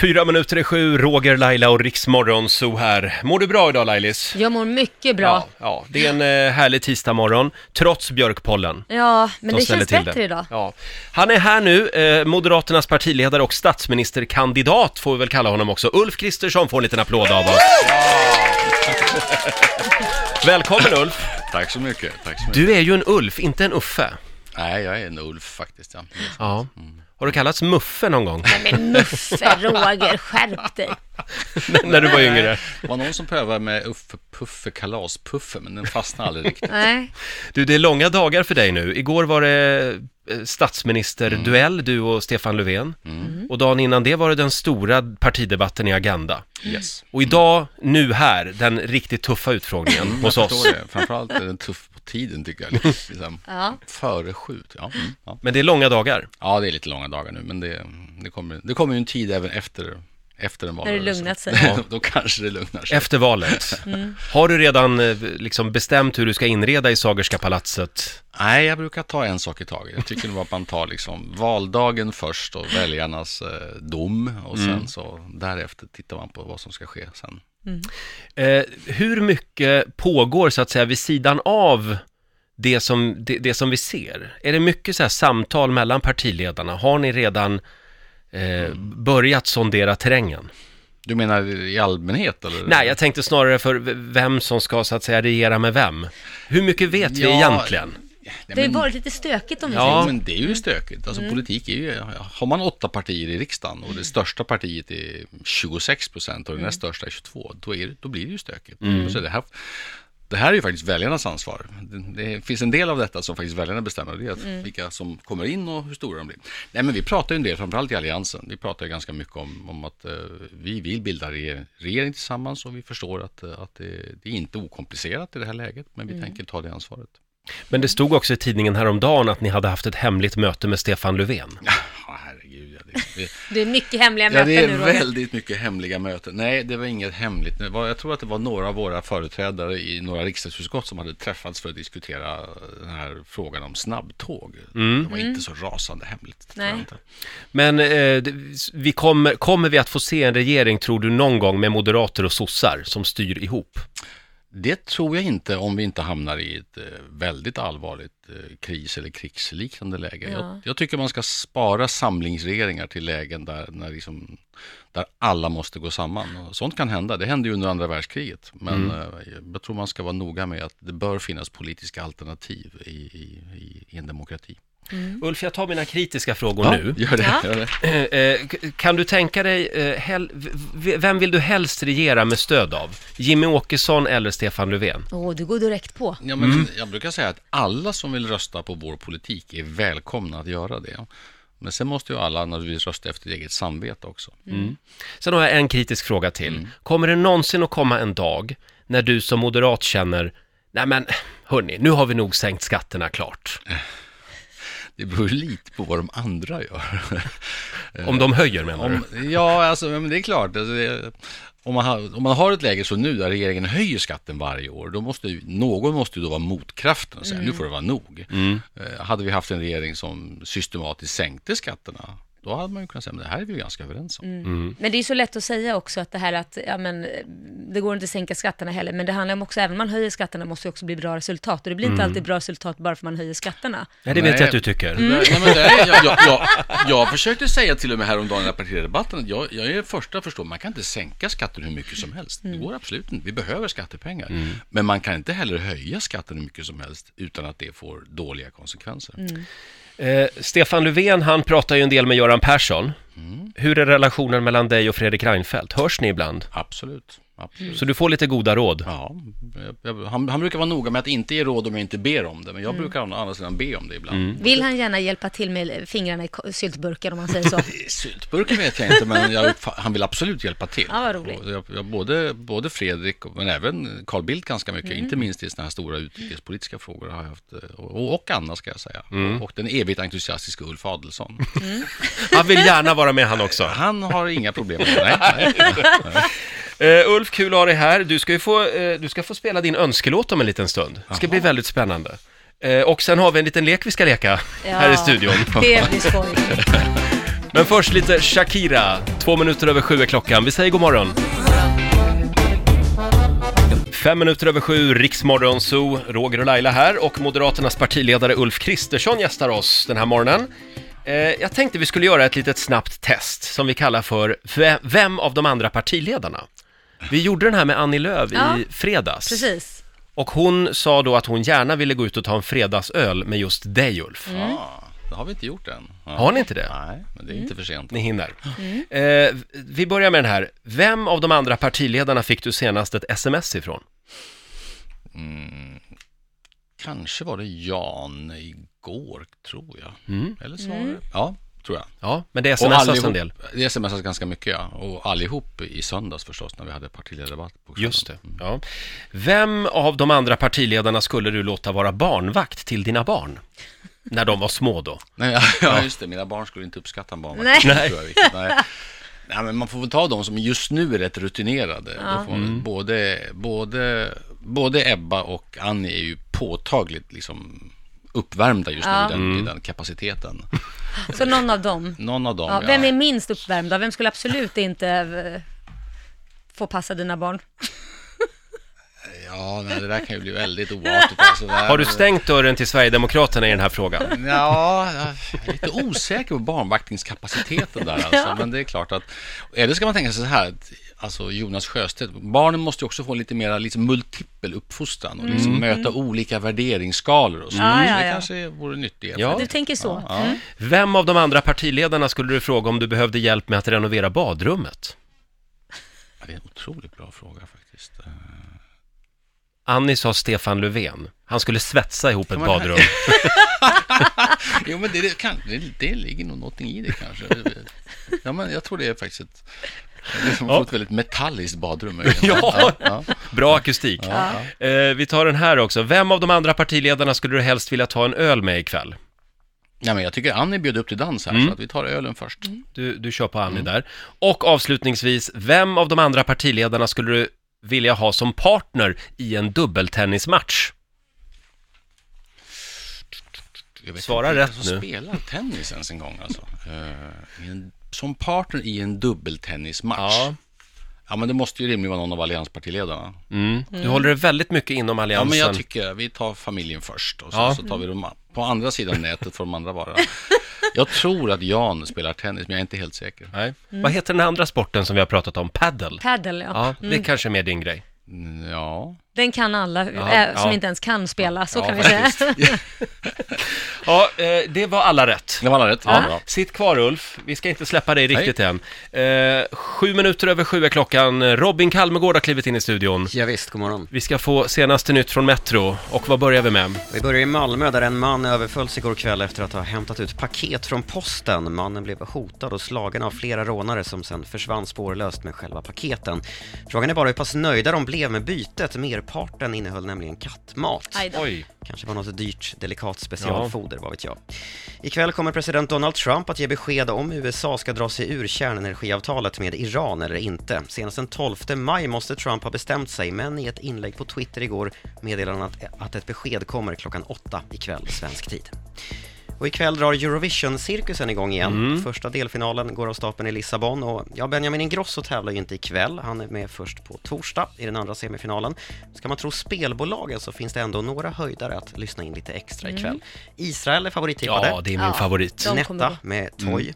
Fyra minuter i sju, Roger, Laila och Riksmorgon så här. Mår du bra idag Lailis? Jag mår mycket bra. Ja, ja, det är en eh, härlig tisdagmorgon, trots björkpollen. Ja, men som det ställer känns till bättre idag. Ja. Han är här nu, eh, Moderaternas partiledare och statsministerkandidat får vi väl kalla honom också. Ulf Kristersson får en liten applåd av oss. Välkommen Ulf! Tack så mycket. Tack så mycket. Du är ju en Ulf, inte en Uffe. Nej, jag är en Ulf faktiskt. Ja. Ja. Har du kallats Muffe någon gång? Nej men Muffe, Roger, skärp dig. När du var yngre? Det var någon som prövade med Uffe Puffe Kalaspuffe, men den fastnade aldrig riktigt. Nej. Du, det är långa dagar för dig nu. Igår var det eh, statsministerduell, Mm. du och Stefan Löfven. Och dagen innan det var det den stora partidebatten i Agenda. Mm. Yes. Och idag, nu här, den riktigt tuffa Mm. utfrågningen hos Mm. Jag oss. förstår det. Framförallt är den tuff på tiden tycker jag. Liksom. Ja. Före sju. Ja. Mm. Ja. Men det är långa dagar. ja, det är lite långa dagar nu, men det, det, kommer, det kommer ju en tid även efter, efter en valrörelse. lugnat sig. Ja. Då kanske det lugnar sig. Efter valet. Mm. Har du redan eh, liksom bestämt hur du ska inreda i Sagerska palatset? Nej, jag brukar ta en sak i taget. Jag tycker nog att man tar liksom valdagen först och väljarnas eh, dom och Mm. sen så därefter tittar man på vad som ska ske sen. Eh, hur mycket pågår så att säga vid sidan av det som, det, det som vi ser? Är det mycket så här samtal mellan partiledarna? Har ni redan eh, börjat sondera terrängen? Du menar i allmänhet eller? Nej, jag tänkte snarare för v- vem som ska så att säga regera med vem. Hur mycket vet vi Ja, egentligen? Nej, Det har ju men- varit lite stökigt om vi Ja. Mm. Ja, men det är ju stökigt. Alltså politik är ju, har man åtta partier i riksdagen och det största partiet är 26 procent och det näst Mm. största är 22, då, är det, då blir det ju stökigt. Så det här, det här är ju faktiskt väljarnas ansvar. Det, det finns en del av detta som faktiskt väljarna bestämmer och det är att Mm. vilka som kommer in och hur stora de blir. Nej, men vi pratar ju en del, framförallt i Alliansen, vi pratar ju ganska mycket om, om att eh, vi vill bilda regering, regering tillsammans och vi förstår att, eh, att det, det är inte okomplicerat i det här läget, men Mm. vi tänker ta det ansvaret. Men det stod också i tidningen häromdagen att ni hade haft ett hemligt möte med Stefan Löfven. Ja, herregud, ja, det, det, säger. Det är mycket hemliga Ja, möten det nu är Roger. väldigt mycket hemliga möten. Nej, det var inget hemligt. Det var- Jag tror att det var några av våra företrädare i några riksdagsutskott som hade träffats för att diskutera den här frågan om snabbtåg. Det var inte så rasande hemligt. tror jag Nej. inte. Men eh, det- vi kommer, kommer vi att få se en regering, tror du, någon gång med moderater och sossar som styr ihop? Det tror jag inte om vi inte hamnar i ett eh, väldigt allvarligt eh, kris eller krigsliknande läge. Jag, jag tycker man ska spara samlingsregeringar till lägen där, när liksom, där alla måste gå samman. Och Sånt kan hända. Det hände ju under andra världskriget. Men eh, jag tror man ska vara noga med att det bör finnas politiska alternativ i, i, i- i en demokrati. Ulf, jag tar mina kritiska frågor nu. gör det. Ja. Gör det. Eh, k- Kan du tänka dig, eh, hel- v- v- vem vill du helst regera med stöd av? Jimmy Åkesson eller Stefan Löfven? Åh, du går direkt på. Ja, men Jag brukar säga att alla som vill rösta på vår politik är välkomna att göra det. Men sen måste ju alla naturligtvis rösta efter eget samvete också. Sen har jag en kritisk fråga till. Mm. Kommer det någonsin att komma en dag när du som moderat känner, nej men hörni, nu har vi nog sänkt skatterna klart. Det beror lite på vad de andra gör. Om de höjer menar du? Eh. Om, ja, alltså, men det är klart. Alltså, det, om, man har, om man har ett läge som nu där regeringen höjer skatten varje år, då måste ju, någon måste ju då vara motkraften och säga nu får det vara nog. Eh, hade vi haft en regering som systematiskt sänkte skatterna, då hade man ju kunnat säga men det här är vi ju ganska överens om. Men det är ju så lätt att säga också att det här att, ja men, eh, det går inte att sänka skatterna heller, men det handlar om också, även om man höjer skatterna måste det också bli bra resultat, och det blir inte alltid bra resultat bara för man höjer skatterna. Nej, det vet Nej. jag att du tycker. Nej, nej, men det är, jag, jag, jag, jag försökte säga till och med häromdagen i den här partiledardebatten att jag, jag är den första att förstå, man kan inte sänka skatten hur mycket som helst. Det går absolut inte. Vi behöver skattepengar. Men man kan inte heller höja skatten hur mycket som helst utan att det får dåliga konsekvenser. Eh, Stefan Löfven, han pratar ju en del med Göran Persson. Mm. Hur är relationen mellan dig och Fredrik Reinfeldt? Hörs ni ibland? Absolut. absolut. Så du får lite goda råd. Ja, jag, jag, han, han brukar vara noga med att inte ge råd om jag inte ber om det, men jag brukar å andra sidan be om det ibland. Vill han gärna hjälpa till med fingrarna i ko- syltburken om man säger så? Syltburken vet jag inte, men jag, uppfa- han vill absolut hjälpa till. Ja, vad roligt. Och Jag, jag, både, både Fredrik, och- men även Carl Bildt ganska mycket, Mm. inte minst i sådana här stora utrikespolitiska frågor har jag haft, eh, och, och Anna ska jag säga, och den evigt entusiastiska Ulf Adelsohn. Han vill gärna vara med han också. Han har inga problem med det. Nej, nej. Eh, Ulf, kul att ha dig här. Du ska ju få, eh, du ska få spela din önskelåt om en liten stund. Det ska bli väldigt spännande. Eh, och sen har vi en liten lek vi ska leka här i studion. Det blir skoj. Men först lite Shakira. Två minuter över sju är klockan. Vi säger god morgon. Fem minuter över sju, Riksmorgon Zoo, Roger och Laila här och Moderaternas partiledare Ulf Kristersson gästar oss den här morgonen. Eh, jag tänkte vi skulle göra ett litet snabbt test som vi kallar för Ve- Vem av de andra partiledarna? Vi gjorde den här med Annie Lööf Ja, i fredags. Precis. Och hon sa då att hon gärna ville gå ut och ta en fredagsöl med just dig Ulf. Mm. Ah, det har vi inte gjort än. Ja. Har ni inte det? Nej, men det är inte för sent. Ni hinner. Eh, vi börjar med den här. Vem av de andra partiledarna fick du senast ett sms ifrån? Mm. Kanske var det Jan igår, tror jag. Eller Mm. snarare. Ja, tror jag. Ja, men det Och smsas en allihop- del. Det smsas ganska mycket, ja. Och allihop i söndags förstås, när vi hade partiledardebatt på kvällen. Mm. Just det. Ja. Vem av de andra partiledarna skulle du låta vara barnvakt till dina barn? När de var små då? Nej, ja, ja, just det. Mina barn skulle inte uppskatta en barnvakt. Nej. Nej. Tror jag, riktigt. Nej. Nej, men man får väl ta de som just nu är rätt rutinerade. Då får man, Mm. både, både, både Ebba och Annie är ju påtagligt liksom uppvärmda just nu i, Mm. den, i den kapaciteten. Så någon av dem. Någon av dem, Ja, vem är minst uppvärmd då? Vem skulle absolut inte eh, få passa dina barn? ja nej, det där kan ju bli väldigt oartigt. Alltså, Det här- Har du stängt dörren till Sverigedemokraterna i den här frågan? Ja, jag är lite osäker på barnvaktningskapaciteten där alltså. Men det är klart att... Eller ska man tänka sig så här, att, alltså Jonas Sjöstedt, barnen måste ju också få lite mer liksom, multipel uppfostran och liksom möta olika värderingsskalor och så. Ja, så ja, det ja. kanske vore nyttigt. Ja. Du tänker så. Mm. Ja. Vem av de andra partiledarna skulle du fråga om du behövde hjälp med att renovera badrummet? Ja, Det är en otroligt bra fråga faktiskt. Annie sa Stefan Löfven. Han skulle svetsa ihop ett men- badrum. Jo, men det, det, kan, det, det ligger nog någonting i det kanske. Ja, men jag tror det är faktiskt ett... Man får ett väldigt metalliskt badrum. Ja. ja. Bra akustik. Eh, vi tar den här också. Vem av de andra partiledarna skulle du helst vilja ta en öl med ikväll? Nej, men jag tycker Annie bjöd upp till dans här, så att vi tar ölen först. Du, du kör på Mm. Annie där. Och avslutningsvis, vem av de andra partiledarna skulle du vilja ha som partner i en dubbeltennismatch? Jag vet Svara inte vilka rätt som nu. spelar tennis ens en gång alltså. Eh, i en, som partner i en dubbeltennismatch. Ja. Ja. men det måste ju rimligen vara någon av allianspartiledarna. Mm. Du håller dig väldigt mycket inom Ja, alliansen. men jag tycker vi tar familjen först och sen Ja. så tar vi dem på andra sidan nätet får de andra vara. Jag tror att Jan spelar tennis, men jag är inte helt säker. Nej. Vad heter den andra sporten som vi har pratat om? Paddle? Padel, ja. Ja, det är kanske är mer din grej. Mm, Ja, Den kan alla Ja, eh, som ja. inte ens kan spela, så Ja, kan vi säga. Ja, eh, det var alla rätt. det var alla rätt. Ja. Bra. Sitt kvar Ulf, vi ska inte släppa dig riktigt än. Eh, sju minuter över sju är klockan. Robin Kalmegård har klivit in i studion. Ja, visst, god morgon. Vi ska få senaste nytt från Metro. Och vad börjar vi med? Vi börjar i Malmö där en man överfölls igår kväll efter att ha hämtat ut paket från posten. Mannen blev hotad och slagen av flera rånare som sen försvann spårlöst med själva paketen. Frågan är bara hur pass nöjda de blev med bytet. Merparten innehöll nämligen kattmat. Aj då. Oj. Kanske var något dyrt, delikat specialfoder, vad vet jag. Ikväll kommer president Donald Trump att ge besked om USA ska dra sig ur kärnenergiavtalet med Iran eller inte. Senast den 12 maj måste Trump ha bestämt sig, men i ett inlägg på Twitter igår meddelade han att, att ett besked kommer klockan åtta ikväll svensk tid. Och ikväll drar Eurovision-cirkusen igång igen. Mm. Första delfinalen går av stapeln i Lissabon och ja, Benjamin Ingrosso tävlar ju inte ikväll. Han är med först på torsdag i den andra semifinalen. Ska man tro spelbolagen så finns det ändå några höjdare att lyssna in lite extra ikväll. Israel är favorittippade. Ja, det Mm. är min Ja. favorit. Mm. De kommer Netta gå. med Toy.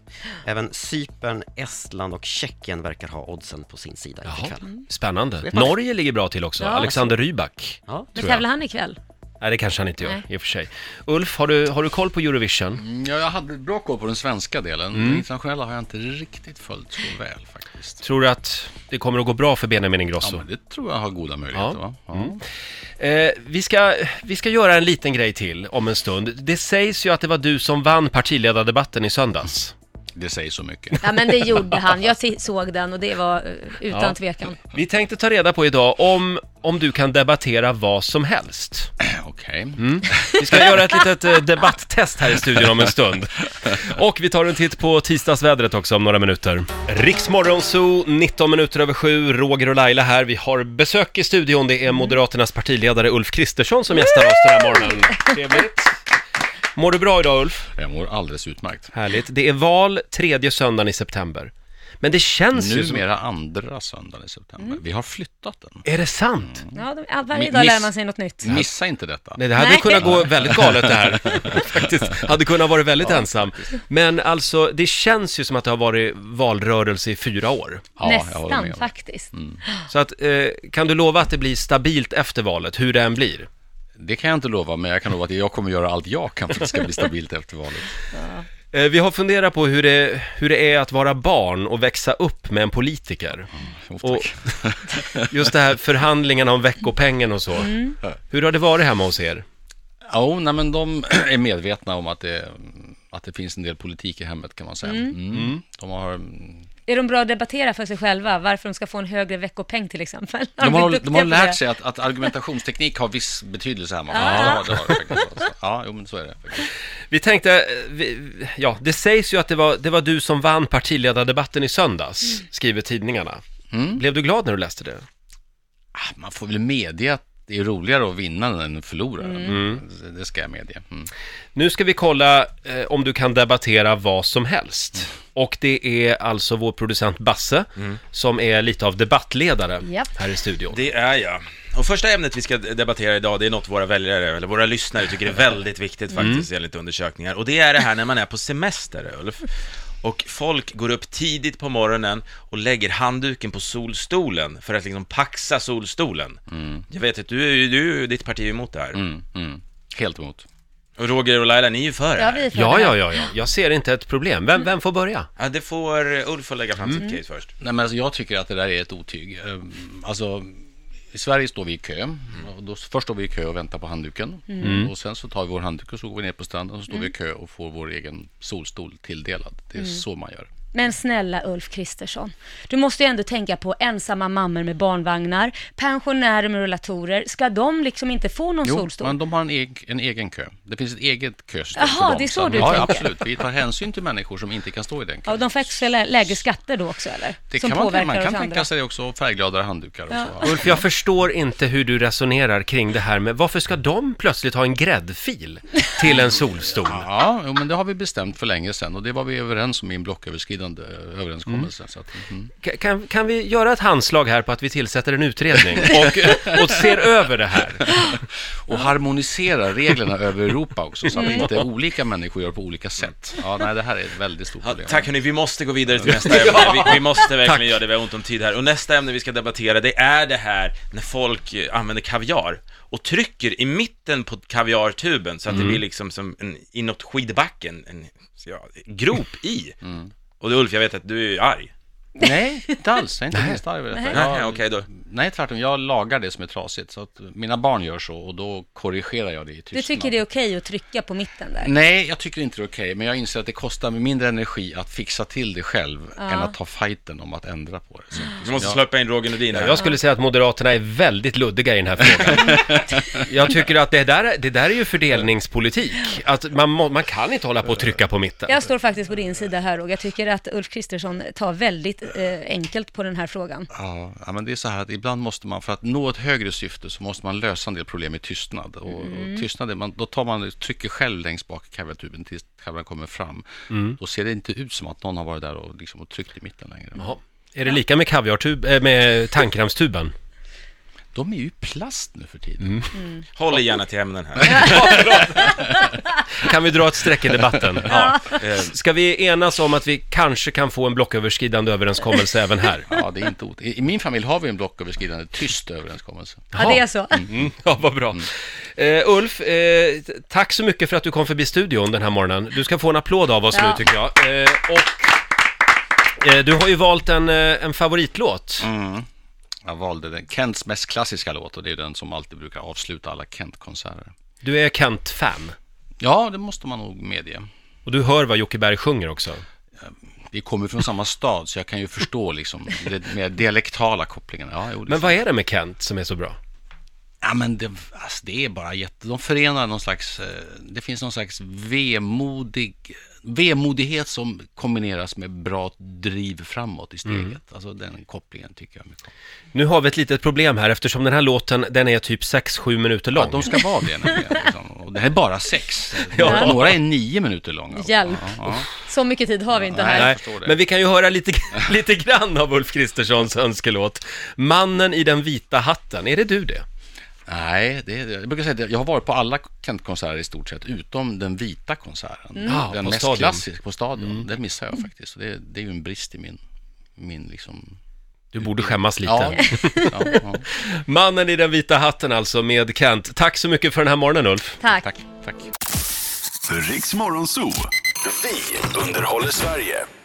Även Cypern, Estland och Tjeckien verkar ha oddsen på sin sida Jaha, ikväll. Mm. spännande. Vet man. Norge ligger bra till också. Ja. Alexander Rybak. Ja. Men Tror jag. tävlar han ikväll? Nej, det kanske han inte gör Nej. i och för sig. Ulf, har du, har du koll på Eurovision? Mm, Ja, jag hade bra koll på den svenska delen. Mm. Den internationella har jag inte riktigt följt så väl faktiskt. Tror du att det kommer att gå bra för Benjamin Ja, Ingrosso? men det tror jag har goda möjligheter. Ja. Va? Ja. eh, vi, ska, vi ska göra en liten grej till om en stund. Det sägs ju att det var du som vann partiledardebatten i söndags. Det säger så mycket. Ja, men det gjorde han. Jag se- såg den och det var eh, utan Ja. tvekan. Vi tänkte ta reda på idag om, om du kan debattera vad som helst. Okej. Vi ska göra ett litet eh, debatttest här i studion om en stund. Och vi tar en titt på tisdagsvädret också om några minuter. Riksmorgon Zoo, 19 minuter över sju, Roger och Laila här. Vi har besök i studion. Det är Moderaternas partiledare Ulf Kristersson som gästar oss den här morgonen. Trevligt. Mår du bra idag Ulf? Jag mår alldeles utmärkt. Härligt. Det är val tredje söndagen i september. Men det känns ju som... Numera andra söndagen i september. Vi har flyttat den. Är det sant? Ja, de, ja, varje Mi- dag lär miss- man sig något nytt. Missa inte detta. Nej, det hade Nej. kunnat gå väldigt galet det här. Faktiskt. Hade kunnat vara väldigt ensam. Men alltså, det känns ju som att det har varit valrörelse i fyra år. Ja, jag håller Nästan med. Mm. faktiskt. Så att, eh, kan du lova att det blir stabilt efter valet, hur det än blir? Det kan jag inte lova, men jag kan lova att jag kommer göra allt jag kan för att det ska bli stabilt efter valet. Eh, vi har funderat på hur det, hur det är att vara barn och växa upp med en politiker. Oh, tack. Och just det här förhandlingarna om veckopengen och så. Hur har det varit hemma hos er? Ja, oh, nej, men de är medvetna om att det, att det finns en del politik i hemmet kan man säga. Mm. De har, Är de bra att debattera för sig själva? Varför de ska få en högre veckopeng till exempel? de har, blivit de duktiga på har det? lärt sig att, att argumentationsteknik har viss betydelse hemma. Ja, det har det faktiskt. Ja, jo, men så är det. faktiskt. Vi tänkte, eh, vi, ja, det sägs ju att det var, det var du som vann partiledardebatten i söndags, skriver tidningarna. Blev du glad när du läste det? Ah, Man får väl medge att det är roligare att vinna än att förlora. Mm. Mm. Det- Det ska jag medge. Mm. Nu ska vi kolla eh, om du kan debattera vad som helst. Och det är alltså vår producent Basse som är lite av debattledare Japp. här i studion. Det är jag. Och första ämnet vi ska debattera idag, det är något våra väljare, eller våra lyssnare, tycker är väldigt viktigt Mm. faktiskt enligt undersökningar. Och det är det här när man är på semester, Ulf. Och folk går upp tidigt på morgonen och lägger handduken på solstolen för att liksom paxa solstolen. Mm. Jag vet att du, är ju- du, ditt parti är emot det här. Mm. Mm. Helt emot. Och Roger och Laila, ni är ju för det Ja, här. vi är för Ja, det ja, här. ja, ja, jag ser inte ett problem. Vem, vem får börja? Ja, det får eh, Ulf att lägga fram Mm. sitt case först. Nej, men alltså, jag tycker att det där är ett otyg. Ehm, Alltså, I Sverige står vi i kö. Och då, först står vi i kö och väntar på handduken. Mm. Och sen så tar vi vår handduk och så går vi ner på stranden och så står vi i kö och får vår egen solstol tilldelad. Det Mm. är så man gör. Men snälla Ulf Kristersson, du måste ju ändå tänka på ensamma mammor med barnvagnar, pensionärer med rullatorer, ska de liksom inte få någon solstol? men de har en egen, en egen kö. Det finns ett eget kösystem Jaha, för dem det är så sen. du ja, ja, tänker. absolut. Vi tar hänsyn till människor som inte kan stå i den kön. Ja, och de får extra lä- lägre skatter då också eller? det Som kan man, påverkar man oss kan andra. tänka sig också färggladare handdukar och så. Ulf, jag förstår inte hur du resonerar kring det här med varför ska de plötsligt ha en gräddfil till en solstol? Ja, jo, men det har vi bestämt för länge sedan och det var vi överens om i en blocköverskridande eh, Mm. överenskommelse. Så att, mhm. Ka- Kan, kan vi göra ett handslag här på att vi tillsätter en utredning och, och ser över det här? Och harmonisera reglerna över Europa också så att Mm. inte olika människor gör på olika sätt. Ja, nej, det här är ett väldigt stort Ja, problem. tack hörni, vi måste gå vidare till nästa ämne. Vi, vi måste verkligen göra det, vi har ont om tid här. Och nästa ämne vi ska debattera, det är det här när folk eh, använder kaviar och trycker i mitten på kaviartuben så att det blir liksom som en, inåt skidbacken, en ja, grop i. Och du Ulf, jag vet att du är arg. Nej, inte alls. Jag är inte minst arg över detta. Nej, Jag- okej då. Nej, tvärtom. Jag lagar det som är trasigt. Så att mina barn gör så och då korrigerar jag det i tystnad. Du tycker det är okej att trycka på mitten där? Nej, jag tycker inte det är okej, men jag inser att det kostar mig mindre energi att fixa till det själv än att ta fighten om att ändra på det. Så, Du måste släppa in Roger Nordin här. Jag skulle säga att Moderaterna är väldigt luddiga i den här frågan. Jag tycker att det där, det där är ju fördelningspolitik. Att man, må- man kan inte hålla på och trycka på mitten. Jag står faktiskt på din sida här och jag tycker att Ulf Kristersson tar väldigt eh, enkelt på den här frågan. Ja, ja, men det är så här att ibland måste man, för att nå ett högre syfte, så måste man lösa en del problem i tystnad. Och, och tystnad, är man, då tar man, trycker själv längst bak i kaviartuben tills kaviaren kommer fram. Då ser det inte ut som att någon har varit där och, liksom, och tryckt i mitten längre. Jaha. Är det lika med kaviartub, eh, med tandkrämstuben? De är ju i plast nu för tiden. Håll er gärna till ämnen här. Kan vi dra ett streck i debatten? Ja. Eh, Ska vi enas om att vi kanske kan få en blocköverskridande överenskommelse även här? Ja, det är inte ot- I i min familj har vi en blocköverskridande tyst överenskommelse. Ja, det är så. Mm, ja, vad bra. Eh, Ulf, eh, t- tack så mycket för att du kom förbi studion den här morgonen. Du ska få en applåd av oss Ja. nu tycker jag. Eh, och eh, du har ju valt en, eh, en favoritlåt. Mm. Jag valde den, Kents mest klassiska låt och det är den som alltid brukar avsluta alla Kent-konserter. Du är Kent-fan. Ja, det måste man nog medge. Och du hör vad Jocke Berg sjunger också. Vi kommer från samma stad så jag kan ju förstå liksom det mer dialektala kopplingen. Ja, jo, det Men finns. vad är det med Kent som är så bra? Ja, men det, alltså, det är bara jätte... De förenar någon slags... eh, Det finns någon slags vemodig... Vemodighet som kombineras med bra driv framåt i steget. Mm. Alltså den kopplingen tycker jag mycket om. Nu har vi ett litet problem här eftersom den här låten, den är typ 6-7 minuter lång. Ja, de ska vara det nämligen. Liksom. Och Och det här är bara sex. Ja. Några är nio minuter långa. Hjälp. Ja, Så mycket tid har vi inte Nej. här. Nej, förstår det. men vi kan ju höra lite, lite grann av Ulf Kristerssons önskelåt. Mannen i den vita hatten, är det du det? Nej, det, jag brukar säga att jag har varit på alla Kent-konserter i stort sett, utom den vita konserten. Mm. Ja, Den på mest Stadion. Mm. klassiska, på Stadion. Den missar jag faktiskt. Så Det, det är ju en brist i min, min liksom... Du borde skämmas lite. Ja, ja, ja. Mannen i den vita hatten alltså med Kent. Tack så mycket för den här morgonen Ulf. Tack. Tack, tack. Riks Morgonzoo. Vi underhåller Sverige.